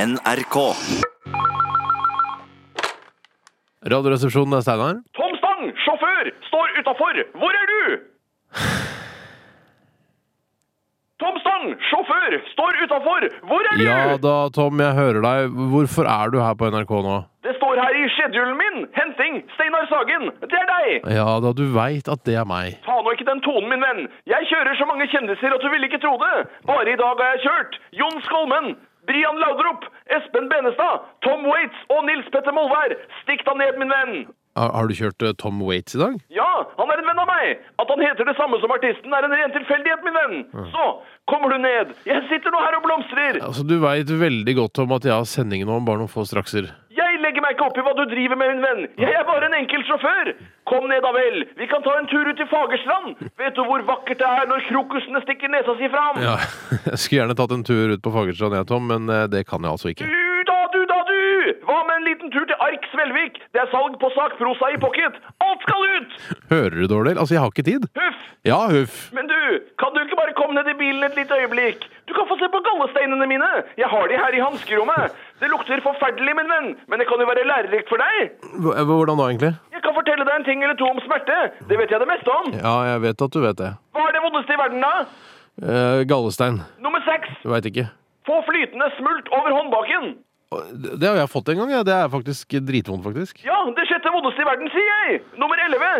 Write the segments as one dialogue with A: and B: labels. A: NRK.
B: Radioresepsjonen er Steinar.
C: Tom Stang, sjåfør, står utafor. Hvor er du? Tom Stang, sjåfør, står utafor. Hvor er du?
B: Ja da, Tom, jeg hører deg. Hvorfor er du her på NRK nå?
C: Det står her i schedulen min. Henting Steinar Sagen. Det er deg.
B: Ja da, du veit at det er meg.
C: Ta nå ikke den tonen, min venn. Jeg kjører så mange kjendiser at du ville ikke tro det. Bare i dag har jeg kjørt Jon Skolmen, Brian Laudrup, Espen Benestad, Tom Waits og Nils Petter Molvær. Stikk deg ned, min venn.
B: Har, har du kjørt eh, Tom Waits i dag?
C: Ja, han er en venn av meg. At han heter det samme som artisten, er en ren tilfeldighet, min venn. Så kommer du ned. Jeg sitter nå her og blomstrer.
B: Altså, Du veit veldig godt om at jeg har sending nå om bare noen få strakser.
C: Jeg legger meg ikke opp i hva du driver med, min venn. Jeg er bare en enkel sjåfør. Kom ned da vel. Vi kan ta en tur ut i Fagersland. Vet du hvor vakkert det er når krokusene stikker nesa si fram?
B: Ja, Jeg skulle gjerne tatt en tur ut på Fagerstrand, jeg, Tom, men eh, det kan jeg altså ikke.
C: Du da, du da, du! Hva med en liten tur til Ark Svelvik? Det er salg på sakprosa i pocket. Alt skal ut!
B: Hører du dårlig? Altså, jeg har ikke tid.
C: Huff!
B: Ja, huff.
C: Men du, kan du ikke bare komme ned i bilen et lite øyeblikk? Du kan få se på gallesteinene mine. Jeg har de her i hanskerommet. Det lukter forferdelig, min venn, men det kan jo være lærerikt for deg.
B: Hva- Hvordan da, egentlig?
C: Jeg kan fortelle deg en ting eller to om smerte. Det vet jeg det meste om.
B: Ja, jeg vet at du vet det.
C: Hva er det vondeste i verden, da?
B: Eh, Gallestein.
C: Nummer seks.
B: Du veit ikke.
C: Få flytende smult over håndbaken.
B: Det det har jeg fått en gang, jeg. Det er faktisk dritvondt, faktisk.
C: Ja, det sjette vondeste i verden, sier jeg. Nummer elleve.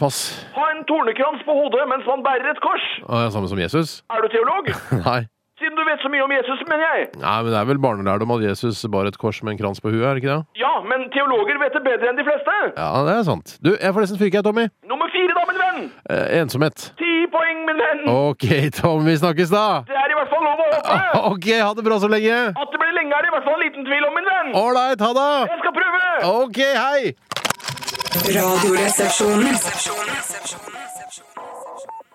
B: Pass.
C: Ha en tornekrans på hodet mens man bærer et kors.
B: Ah, ja, Samme som Jesus?
C: Er du teolog?
B: Nei.
C: Siden du vet så mye om Jesus, mener jeg.
B: Nei, men Det er vel barnelærdom at Jesus bar et kors med en krans på huet? er det ikke det?
C: Ja, men teologer vet det bedre enn de fleste.
B: Ja, det er sant. Du, jeg får nesten fyke, jeg, Tommy.
C: Nummer fire, da, min venn.
B: Eh, ensomhet.
C: Ti poeng, min venn!
B: OK, Tom, vi snakkes da!
C: Det er i hvert fall lov å håpe!
B: OK, ha det bra så lenge!
C: At det blir lenge, er det i hvert fall en liten tvil om, min venn!
B: Ålreit, ha det!
C: Jeg skal prøve!
B: OK, hei!
D: Radioresepsjonen.